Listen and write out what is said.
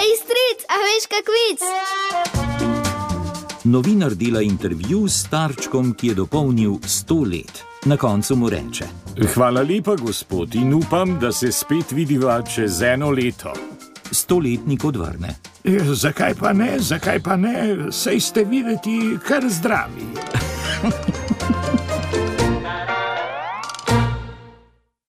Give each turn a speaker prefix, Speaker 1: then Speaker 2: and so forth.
Speaker 1: Ej, stric, a veš kak vic?
Speaker 2: Novinar dela intervju s starčkom, ki je dopolnil 100 let. Na koncu mu reče:
Speaker 3: Hvala lepa, gospod, in upam, da se spet vidiva čez eno leto.
Speaker 2: Stoletnik odvrne.
Speaker 3: E, zakaj pa ne, zakaj pa ne, sej ste videti kar zdravi.